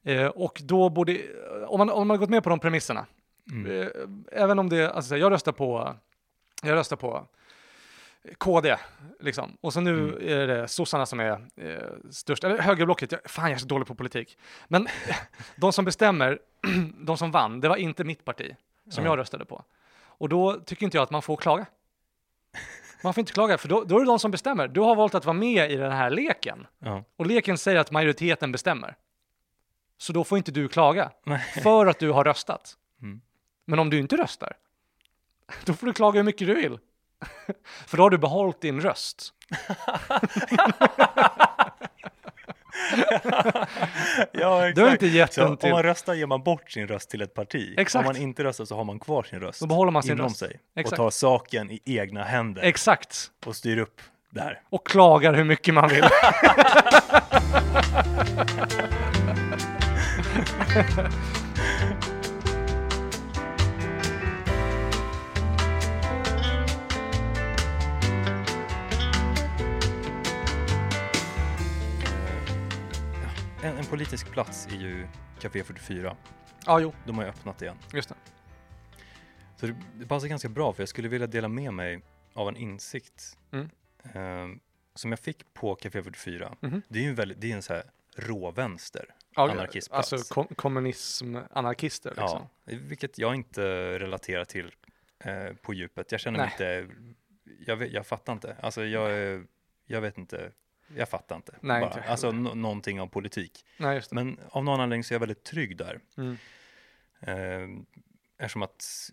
S2: eh, och då borde, om man, om man har gått med på de premisserna,
S1: Mm.
S2: eh, även om det, alltså så här, jag röstar på, jag röstar på KD, liksom. Och så nu
S1: Mm.
S2: är det sossarna som är eh, störst, eller högerblocket, jag, fan jag är så dålig på politik. Men de som bestämmer, de som vann, det var inte mitt parti som
S1: Ja.
S2: jag röstade på. Och då tycker inte jag att man får klaga. Man får inte klaga, för då, då är det de som bestämmer. Du har valt att vara med i den här leken.
S1: Ja.
S2: Och leken säger att majoriteten bestämmer. Så då får inte du klaga,
S1: Nej.
S2: för att du har röstat.
S1: Mm.
S2: Men om du inte röstar, då får du klaga hur mycket du vill. För då har du behållit din röst.
S1: ja,
S2: Du har
S1: exakt.
S2: inte gett
S1: Så
S2: den
S1: om
S2: till...
S1: man röstar ger man bort sin röst till ett parti.
S2: Exakt.
S1: Om man inte röstar så har man kvar sin röst
S2: Då behåller man sin
S1: inom
S2: röst.
S1: sig
S2: Exakt.
S1: och tar saken i egna händer
S2: Exakt.
S1: och styr upp det här.
S2: Och klagar hur mycket man vill.
S1: En, en politisk plats är ju Café 44.
S2: ja, jo,
S1: De har ju öppnat igen.
S2: just det.
S1: Så det, det passar ganska bra för jag skulle vilja dela med mig av en insikt
S2: Mm.
S1: eh, som jag fick på Café 44.
S2: Mhm.
S1: Det är ju en, väldigt, det är en så här råvänster.
S2: Ja,
S1: Anarkistplats.
S2: Alltså kom kommunism-anarkister liksom.
S1: Ja, vilket jag inte relaterar till eh, på djupet. Jag känner mig inte, jag, vet, jag fattar inte. Alltså jag, är- jag vet inte, jag fattar inte.
S2: Nej,
S1: bara.
S2: inte jag heller.
S1: alltså no- någonting av politik.
S2: Nej, just det.
S1: Men av någon anledning så är jag väldigt trygg där.
S2: Mm.
S1: Eh, eftersom att,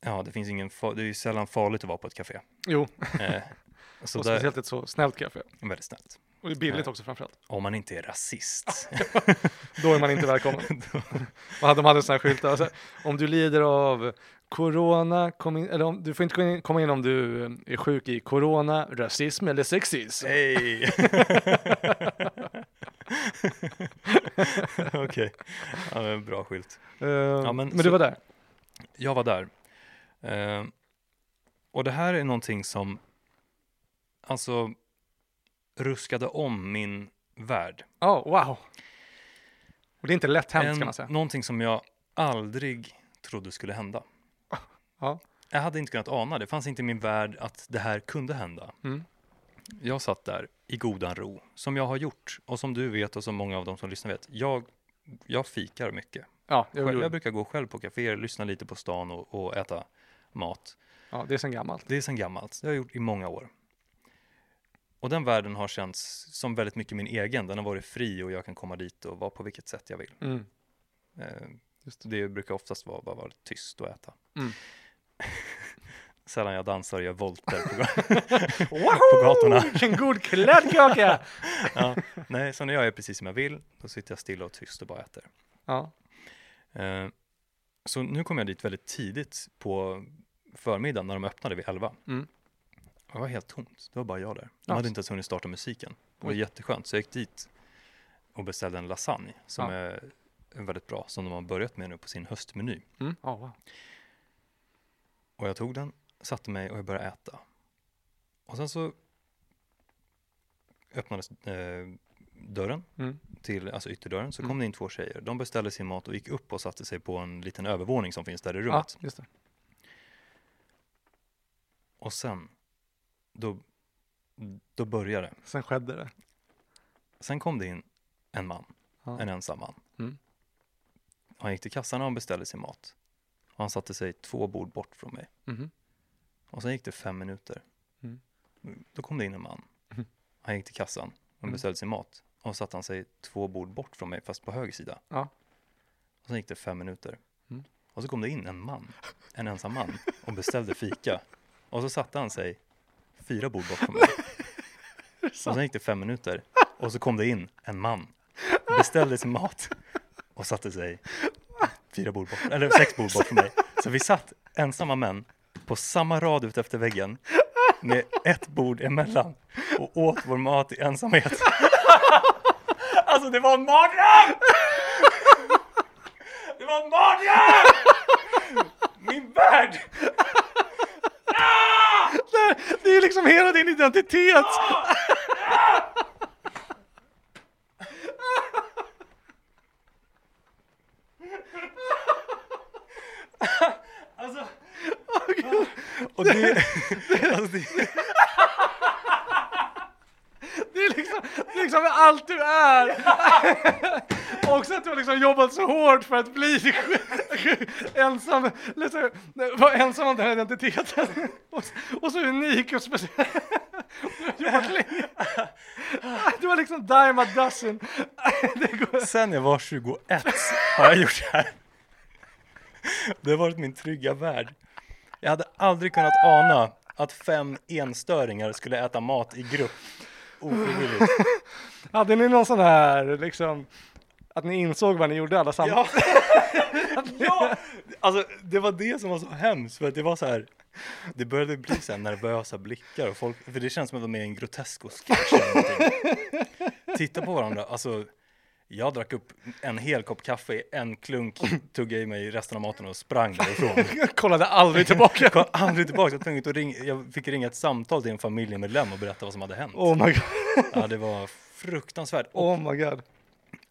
S1: ja det finns ingen, fa- det är ju sällan farligt att vara på ett café.
S2: Jo,
S1: Eh, så
S2: och
S1: där,
S2: speciellt ett så snällt kaffe.
S1: väldigt snällt.
S2: Och det är billigt
S1: Ja.
S2: också framförallt.
S1: Om man inte är rasist.
S2: Ah, Då är man inte välkommen. Man hade- De hade en sån här skylt. där, Alltså, om du lider av corona, kom in, eller om, du får inte komma in, komma in om du eh, är sjuk i corona, rasism eller sexism.
S1: Hej! Okej, ja, men bra skylt.
S2: Eh,
S1: men
S2: men
S1: så-
S2: du var där.
S1: Jag var där. Eh, och det här är någonting som alltså ruskade om min värld.
S2: Ja, wow. Och det är inte lätt hänt
S1: En-
S2: kan man säga.
S1: Någonting som jag aldrig trodde skulle hända.
S2: Ja.
S1: Jag hade inte kunnat ana det. Det fanns inte i min värld att det här kunde hända.
S2: Mm.
S1: Jag satt där i godan ro, som jag har gjort och som du vet och som många av de som lyssnar vet. Jag, jag fikar mycket.
S2: Ja, jag,
S1: Jag, jag
S2: gjorde-
S1: brukar gå själv på kaféer, lyssna lite på stan och, och äta mat.
S2: ja, det är sen gammalt.
S1: Det är sedan gammalt. Det har jag gjort i många år. Och den världen har känts som väldigt mycket min egen. Den har varit fri och jag kan komma dit och vara på vilket sätt jag vill.
S2: Mm.
S1: Eh,
S2: Just
S1: det. brukar oftast vara bara vara tyst och äta.
S2: Mm.
S1: Sällan jag dansar och gör volter på, ga- på
S2: Wahoo!
S1: gatorna.
S2: Vilken god kladdkaka!
S1: Ja. Nej, så när jag gör precis som jag vill, då sitter jag stilla och tyst och bara äter.
S2: ja,
S1: Eh, så nu kom jag dit väldigt tidigt på förmiddagen när de öppnade vid 11.
S2: Mm.
S1: Och Det var helt tomt, det var bara jag där. De
S2: Ja.
S1: hade inte ens hunnit starta musiken. Det var
S2: Oj.
S1: jätteskönt, så jag gick dit och beställde en lasagne som
S2: Ja.
S1: är väldigt bra, som de har börjat med nu på sin höstmeny.
S2: mm. Ja, wow.
S1: Och jag tog den, satte mig och jag började äta. Och sen så öppnades eh, dörren,
S2: Mm.
S1: till, alltså ytterdörren, så kom
S2: Mm.
S1: det in två tjejer. De beställde sin mat och gick upp och satte sig på en liten övervåning som finns där i
S2: ja
S1: rummet.
S2: just det.
S1: Och sen, då, då började det.
S2: Sen skedde det.
S1: Sen kom det in en man,
S2: Ja.
S1: en ensam man.
S2: Mm.
S1: Han gick till kassan och han beställde sin mat. Och han satte sig två bord bort från mig.
S2: Mhm.
S1: Och sen gick det fem minuter.
S2: Mm.
S1: Då kom det in en man.
S2: Mhm.
S1: Han gick till kassan och
S2: Mm.
S1: beställde sin mat. Och satte han sig två bord bort från mig, fast på höger sida.
S2: Ja.
S1: Och sen gick det fem minuter.
S2: Mm.
S1: Och så kom det in en man, en ensam man, och beställde fika. Och så satte han sig fyra bord bort från mig. Och sen gick det fem minuter och så kom det in en man, beställde sin mat och satte sig fyra bord bort, eller sex bord bort från mig. Så vi satt ensamma män på samma rad ut efter väggen med ett bord emellan och åt vår mat i ensamhet. Alltså det var en mardröm! Det var en mardröm! Min värld!
S2: Det är ju liksom hela din identitet!
S1: Alltså... Och det... Alltså det
S2: Det är liksom, det är liksom allt du är! Och Också att du har liksom jobbat så hårt för att bli ensam, liksom, vara ensam om den här identiteten. Och, och så unik och speciell. Du har jobbat länge. Du var liksom dime a dozen. Det går,
S1: Sen jag var 21 har jag gjort det här. Det har varit min trygga värld. Jag hade aldrig kunnat ana att fem enstöringar skulle äta mat i grupp ofrivilligt.
S2: hade ni någon sån här liksom, att ni insåg vad ni gjorde alla samtidigt?
S1: Ja. ja! Alltså, det var det som var så hemskt, för att det var så här, det började bli så här nervösa blickar och folk, för det känns som att de är i en Grotesco-sketch eller någonting. Titta på varandra, alltså, jag drack upp en hel kopp kaffe, en klunk, tuggade i mig resten av maten och sprang därifrån.
S2: Jag kollade aldrig tillbaka.
S1: Jag kom aldrig tillbaka, jag, var tvungen att ringa, jag fick ringa ett samtal till en familjemedlem och berätta vad som hade hänt.
S2: Oh my god.
S1: Ja, det var fruktansvärt. Och
S2: Oh my god.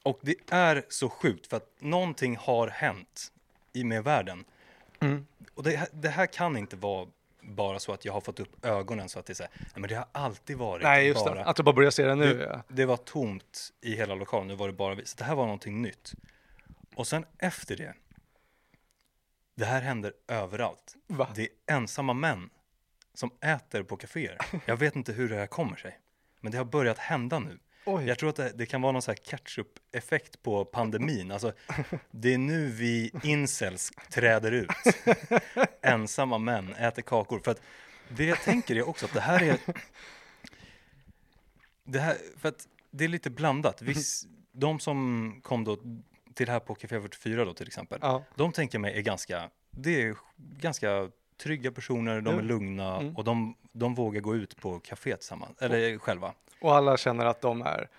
S1: och det är så sjukt för att någonting har hänt i med världen.
S2: Mm.
S1: Och det, här- det här kan inte vara bara så att jag har fått upp ögonen så att det är så här, nej men det har alltid varit
S2: Nej just
S1: bara.
S2: det, att du bara börjar se det nu. ja.
S1: Det var tomt i hela lokalen, nu var det bara vi. Så det här var någonting nytt. Och sen efter det, det här händer överallt.
S2: Va?
S1: Det är ensamma män som äter på kaféer. Jag vet inte hur det här kommer sig, men det har börjat hända nu.
S2: Oj.
S1: Jag tror att det, det kan vara någon så här catch-up-effekt på pandemin. Alltså, det är nu vi incels träder ut. Ensamma män äter kakor. För att det jag tänker är också att det här är... Det här, för att det är lite blandat. Viss, de som kom då till det här på Café 44 då till exempel.
S2: Ja.
S1: De tänker jag mig är ganska, det är ganska trygga personer, de är
S2: Ja. Mm.
S1: lugna och de, de vågar gå ut på kaféet tillsammans, eller själva.
S2: Och alla känner att de är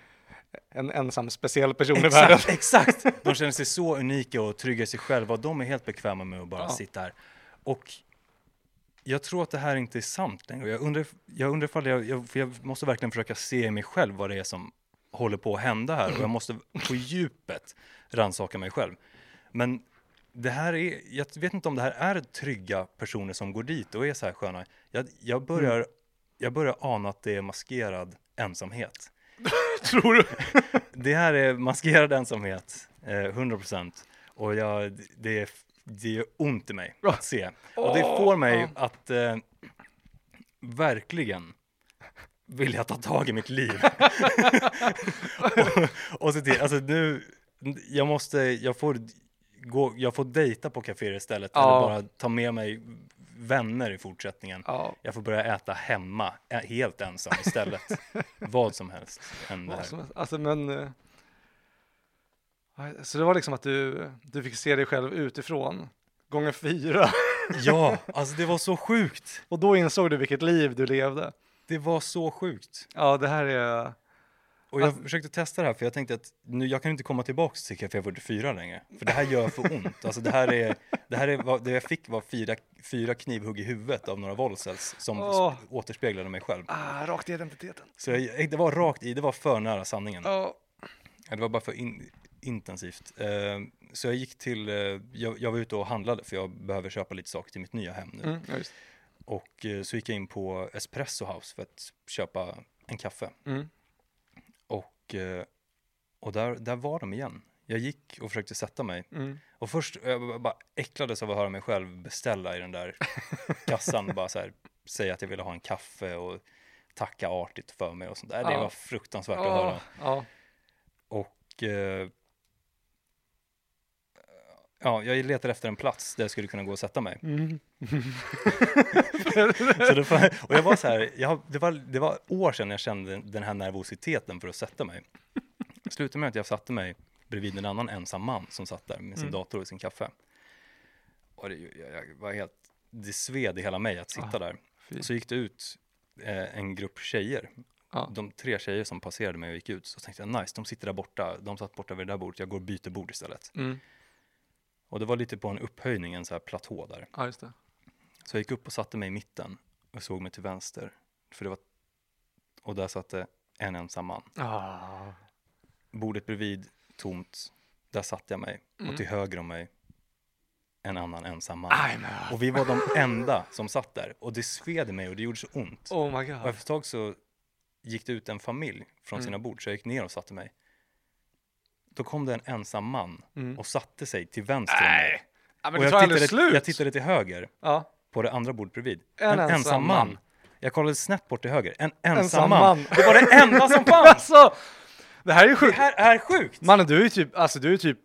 S2: en ensam speciell person i världen.
S1: Exakt, exakt! De känner sig så unika och trygga i sig själva och de är helt bekväma med att bara
S2: Ja.
S1: sitta här. Och jag tror att det här inte är sant längre. Jag undrar, jag undrar ifall jag, jag, för jag måste verkligen försöka se i mig själv vad det är som håller på att hända här och jag måste på djupet rannsaka mig själv. Men det här är, jag vet inte om det här är trygga personer som går dit och är så här sköna. Jag, jag, börjar, jag börjar ana att det är maskerad ensamhet.
S2: Tror du?
S1: Det här är maskerad ensamhet, eh, 100%. Och jag, det, det gör ont i mig att se. Och det får mig att eh, verkligen vilja ta tag i mitt liv. och, och se till, alltså nu, jag måste, jag får gå, jag får dejta på kaféer istället.
S2: Ja.
S1: Eller bara ta med mig vänner i fortsättningen.
S2: Ja.
S1: Jag får börja äta hemma, ä- helt ensam istället. Vad som helst händer. här.
S2: Alltså, alltså men... eh, Så det var liksom att du, du fick se dig själv utifrån, gånger fyra.
S1: Ja, alltså det var så sjukt.
S2: Och då insåg du vilket liv du levde.
S1: Det var så sjukt.
S2: Ja, det här är...
S1: Och jag försökte testa det här för jag tänkte att nu, jag kan inte komma tillbaks till Café 44 längre. För det här gör för ont. Alltså det här är, det här är vad, det jag fick var fyra, fyra knivhugg i huvudet av några volsels som
S2: Åh.
S1: sp- återspeglade mig själv.
S2: Ah, rakt i identiteten.
S1: Så jag, det var rakt i, det var för nära sanningen.
S2: Ja.
S1: Ja, Det var bara för in, intensivt. Eh, så jag gick till, eh, jag, jag var ute och handlade för jag behöver köpa lite saker till mitt nya hem nu.
S2: Mm, ja, just.
S1: Och eh, så gick jag in på Espresso House för att köpa en kaffe.
S2: Mm.
S1: Och, eh, och där, där var de igen. Jag gick och försökte sätta mig.
S2: Mm.
S1: Och först jag b- bara äcklades av att höra mig själv beställa i den där kassan. bara så här, säga att jag ville ha en kaffe och tacka artigt för mig och sånt där. Det
S2: Ja.
S1: var fruktansvärt att
S2: Ja,
S1: höra.
S2: ja.
S1: Och eh, Ja, jag letar efter en plats där jag skulle kunna gå och sätta mig. så det var, och jag var så här, jag, det, var, det var år sedan jag kände den här nervositeten för att sätta mig. Det slutade med att jag satte mig bredvid en annan ensam man som satt där med sin
S2: Mm.
S1: dator och sin kaffe. Och det, jag, jag var helt, det sved i hela mig att sitta
S2: Ah,
S1: där.
S2: fy.
S1: Så gick det ut eh, en grupp tjejer.
S2: Ja.
S1: De tre tjejer som passerade mig och gick ut, så tänkte jag nice, de sitter där borta, de satt borta vid det där bordet, jag går och byter bord istället.
S2: Mm.
S1: Och det var lite på en upphöjning, en så här platå där.
S2: Ja, just det.
S1: Så jag gick upp och satte mig i mitten och såg mig till vänster. För det var... Och där satt det en ensam man.
S2: Ah.
S1: Bordet bredvid, tomt. Där satte jag mig. Och till höger om mig, en annan ensam man.
S2: Mm. Aj, men-
S1: Och vi var de enda som satt där. Och det sved i mig och det gjorde så ont.
S2: Oh my
S1: Och
S2: god.
S1: efter ett tag så gick det ut en familj från
S2: Mm.
S1: sina bord, så jag gick ner och satte mig. Då kom det en ensam man
S2: Mm.
S1: och satte sig till vänster om mig.
S2: Nej. Ja, men
S1: och
S2: det tar
S1: jag,
S2: aldrig
S1: tittade,
S2: slut.
S1: jag tittade till höger
S2: Ja.
S1: på det andra bordet bredvid.
S2: En ensam man.
S1: Jag kollade snett bort till höger. En ensam,
S2: Ensam
S1: man.
S2: man.
S1: Det var det enda som fanns.
S2: Alltså, det här är ju
S1: Det
S2: sjukt.
S1: här är sjukt.
S2: Mannen, du är ju typ, alltså du är ju typ,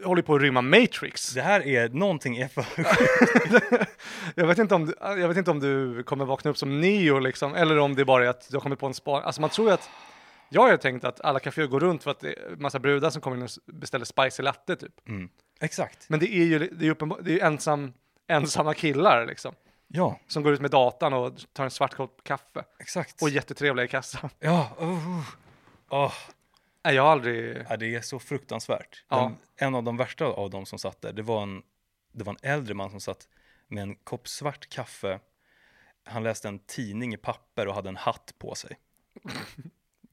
S2: eh, håller på att rymma Matrix.
S1: Det här är någonting är för sjukt.
S2: Jag vet, inte om du, jag vet inte om du kommer vakna upp som Neo liksom, eller om det bara är att du har kommit på en spar. Alltså man tror ju att, jag har ju tänkt att alla kaféer går runt för att det är massa brudar som kommer in och s- beställer spicy latte typ.
S1: Mm. Exakt.
S2: Men det är ju, det är ju uppenbar, det är ju ensam, ensamma killar liksom,
S1: Ja,
S2: som går ut med datan och tar en svart kopp kaffe
S1: exakt.
S2: och är jättetrevliga i kassan.
S1: Ja, oh, oh. Oh.
S2: Nej, jag har aldrig,
S1: Ja, det är så fruktansvärt.
S2: Ja.
S1: Den, en av de värsta av de som satt där, det var, en, det var en äldre man som satt med en kopp svart kaffe. Han läste en tidning i papper och hade en hatt på sig.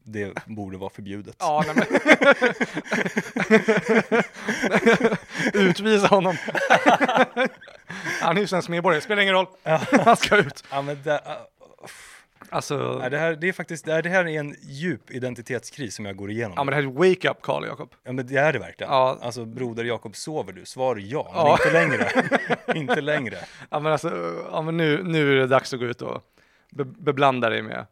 S1: Det borde vara förbjudet.
S2: ja nej, men. Utvisa honom. Han är ju svensk medborgare, spelar ingen roll. Han ska ut.
S1: Ja, men det,
S2: Alltså,
S1: Nej, det, här, det, är faktiskt, det, här, det här är en djup identitetskris som jag går igenom.
S2: Ja men det här är wake up Karl Jakob.
S1: Ja, men det är det verkligen.
S2: Ja.
S1: Alltså, broder Jakob, sover du? Svar ja, men
S2: Ja.
S1: inte längre. inte längre.
S2: Ja men alltså, ja, men nu, nu är det dags att gå ut och be, beblanda dig med,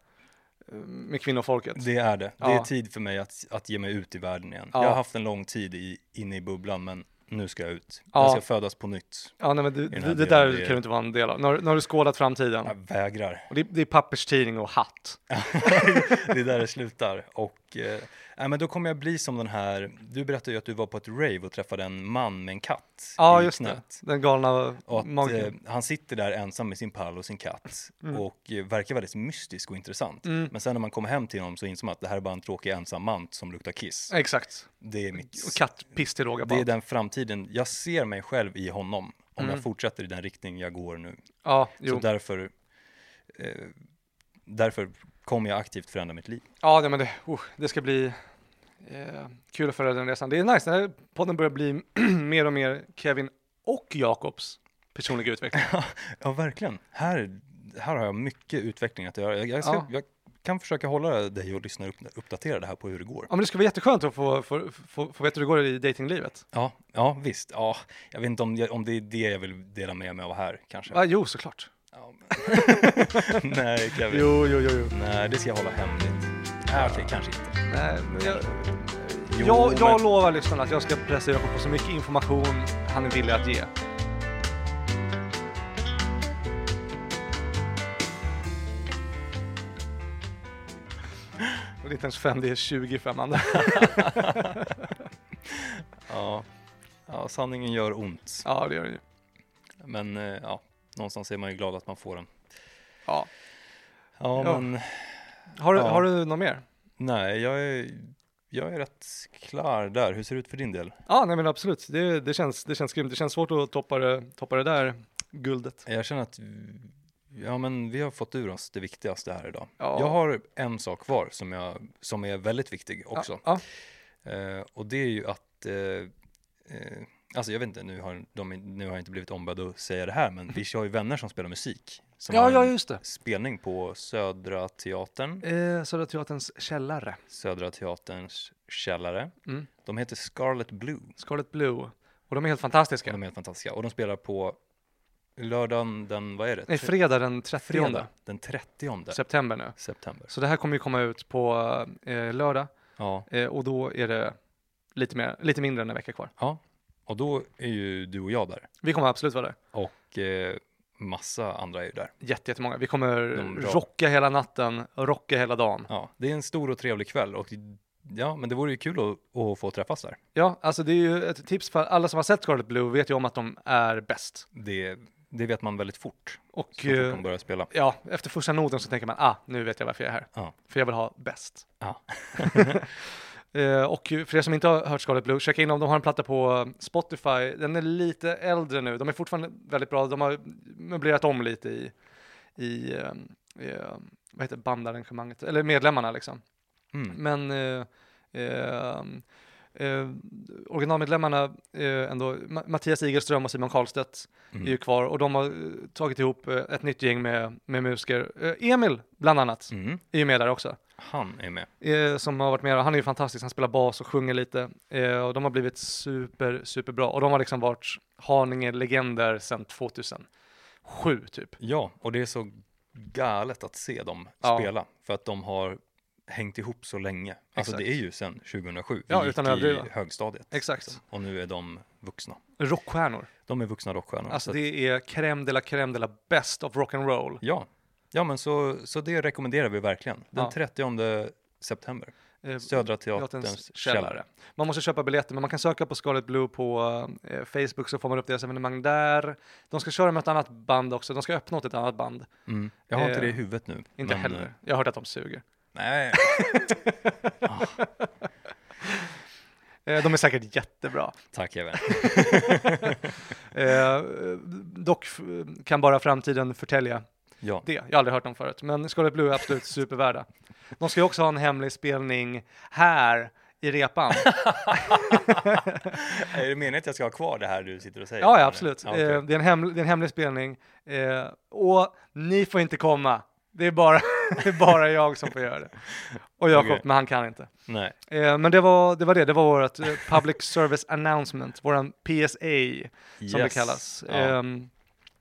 S2: med kvinnofolket.
S1: Det är det. Det
S2: Ja.
S1: är tid för mig att, att ge mig ut i världen igen.
S2: Ja.
S1: Jag har haft en lång tid i, inne i bubblan, men nu ska jag ut.
S2: Ja.
S1: Jag ska födas på nytt.
S2: Ja nej men det,
S1: den här
S2: det, det
S1: delen,
S2: där
S1: det är-
S2: kan du inte vara en del av. Nu har, nu har du skådat framtiden.
S1: Jag vägrar.
S2: Och det, det är papperstidning och hatt.
S1: Det är där det slutar. Och, eh, nej, men då kommer jag bli som den här... Du berättade ju att du var på ett rave och träffade en man med en katt
S2: Ja
S1: i
S2: just det,
S1: knät.
S2: den galna
S1: Och att, eh,
S2: magen. Mm.
S1: han sitter där ensam med sin pall och sin katt och eh, verkar väldigt mystisk och intressant. Men sen när man kommer hem till honom så inser man att det här är bara en tråkig ensam man som luktar kiss.
S2: Exakt.
S1: Det är mitt.
S2: Eh, Och kattpiss till råga på
S1: Det är
S2: allt.
S1: den framtiden. Jag ser mig själv i honom om jag fortsätter i den riktning jag går nu.
S2: Ja,
S1: Så
S2: Mm. jo.
S1: därför, eh, därför kommer jag aktivt förändra mitt liv.
S2: Ja, nej, men det, oh, det ska bli eh, kul att följa den resan. Det är nice, den här podden börjar bli mer och mer Kevin och Jakobs personliga utveckling.
S1: Ja, verkligen. Här, här har jag mycket utveckling att göra. Jag, jag, ska,
S2: Ja.
S1: jag kan försöka hålla dig och lyssna upp, uppdatera det här på hur det går.
S2: Ja, men det skulle vara jätteskönt att få, få, få, få veta hur det går i datinglivet.
S1: Ja, ja visst. Ja, jag vet inte om, jag, om det är det jag vill dela med mig av här kanske.
S2: Ja, jo, såklart.
S1: Ja, men- Nej, Kevin.
S2: Jo, jo, jo, jo.
S1: Nej, det ska jag hålla hemligt. Ja. Okej, kanske inte.
S2: Nej, men jag,
S1: Jo,
S2: jag, jag
S1: men-
S2: lovar lyssnarna att jag ska pressa Jakob på så mycket information han är villig att ge. Och det är inte ens fem, det är 25 andra.
S1: Ja. ja, sanningen gör ont.
S2: Ja, det gör det ju.
S1: Men eh, ja, någonstans är man ju glad att man får den.
S2: Ja.
S1: Ja,
S2: Ja.
S1: men
S2: Har, du-
S1: Ja.
S2: har du något mer?
S1: nej, jag är, jag är rätt klar där. Hur ser det ut för din del?
S2: Ja, nej men absolut. Det, det, känns, det känns grymt. Det känns svårt att toppa det, toppa det där guldet.
S1: Jag känner att ja, men vi har fått ur oss det viktigaste här idag.
S2: Ja.
S1: Jag har en sak kvar som, jag, som är väldigt viktig också.
S2: Ja,
S1: Eh, och det är ju att, eh, eh, alltså jag vet inte, nu har, de, nu har jag inte blivit ombedd att säga det här, men vi har ju vänner som spelar musik. Som
S2: ja,
S1: har
S2: ja
S1: en
S2: just det.
S1: spelning på Södra Teatern,
S2: Eh, Södra Teaterns källare.
S1: Södra Teaterns källare.
S2: Mm.
S1: De heter Scarlet Blue.
S2: Scarlet Blue. Och de är helt fantastiska.
S1: De är helt fantastiska. Och de spelar på lördagen den, vad är det?
S2: Nej,
S1: Tre-
S2: fredag den 30
S1: fredag den 30
S2: september nu.
S1: september.
S2: Så det här kommer ju komma ut på eh, lördag
S1: Ja,
S2: eh, och då är det lite, mer, lite mindre än en vecka kvar.
S1: ja. Och då är ju du och jag där.
S2: Vi kommer absolut vara där.
S1: Och eh, massa andra är ju där.
S2: Jätte, jättemånga. Vi kommer
S1: De drar.
S2: rocka hela natten, rocka hela dagen.
S1: Ja, det är en stor och trevlig kväll. Och ja, men det vore ju kul att, att få träffas där.
S2: Ja, alltså det är ju ett tips för alla som har sett Scarlet Blue vet ju om att de är bäst.
S1: Det, det vet man väldigt fort.
S2: Och
S1: Så fort
S2: eh,
S1: de börjar spela.
S2: ja, efter första noten så tänker man, ah, nu vet jag varför jag är här.
S1: Ja.
S2: För jag vill ha bäst.
S1: Ja.
S2: Eh, och för er som inte har hört Scarlet Blue, checka in dem. De har en platta på um, Spotify. Den är lite äldre nu. De är fortfarande väldigt bra. De har möblerat om lite i, i eh, eh, vad heter det, bandarrangemanget, eller medlemmarna liksom.
S1: Mm.
S2: Men eh, eh, eh, originalmedlemmarna, eh, ändå, Ma- Mattias Igelström och Simon Karlstedt
S1: Mm.
S2: är ju kvar och de har eh, tagit ihop eh, ett nytt gäng med, med musiker. Eh, Emil, bland annat,
S1: Mm.
S2: är ju med där också
S1: Han är med.
S2: eh, som har varit med. och Han är ju fantastisk, han spelar bas och sjunger lite. Eh, och de har blivit super, superbra. Och de har liksom varit Haninge-legender sedan 2007 typ.
S1: Ja, och det är så galet att se dem
S2: Ja.
S1: spela. För att de har hängt ihop så länge. Alltså
S2: Exakt.
S1: det är ju sedan 2007. Vi
S2: Ja,
S1: gick
S2: utan att
S1: i
S2: överdriva.
S1: högstadiet.
S2: Exakt.
S1: Och nu är de vuxna.
S2: Rockstjärnor.
S1: De är vuxna rockstjärnor.
S2: Alltså
S1: så att,
S2: det är crème de la crème de la best of rock and roll.
S1: ja. ja, men så, så det rekommenderar vi verkligen. Den
S2: Ja.
S1: 30 september.
S2: Eh,
S1: Södra Teaterns
S2: Teaterns
S1: källare.
S2: källare. Man måste köpa biljetter, men man kan söka på Scarlet Blue på eh, Facebook så får man upp deras evenemang där. De ska köra med ett annat band också, de ska öppna åt ett annat band.
S1: Mm. Jag har inte
S2: Eh,
S1: det i huvudet nu.
S2: Inte
S1: men, eh,
S2: heller. Jag har hört att de suger.
S1: Nej,
S2: Eh, de är säkert jättebra.
S1: tack Kevin.
S2: Eh, dock f- kan bara framtiden förtälja
S1: Ja,
S2: det. Jag har aldrig hört dem förut, men Scarlet Blue är absolut supervärda. De ska ju också ha en hemlig spelning här i repan.
S1: är det meningen att jag ska ha kvar det här du sitter och säger?
S2: Ja, ja absolut.
S1: Ja, okej.
S2: eh, det, är en hem, det är en hemlig spelning. Eh, och ni får inte komma. Det är bara, det är bara jag som får göra det. Och Jakob,
S1: Okej.
S2: men han kan inte.
S1: Nej,
S2: Eh, men det var, det var det. Det var vårt eh, public service announcement, våran PSA som det
S1: Yes.
S2: kallas.
S1: Ja.
S2: Ehm,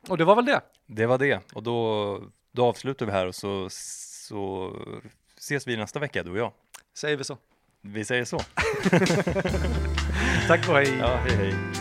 S2: och det var väl det.
S1: Det var det. Och då, då avslutar vi här och så, så ses vi nästa vecka, du och jag.
S2: Säger vi så.
S1: Vi säger så.
S2: Tack och hej.
S1: Ja, hej hej.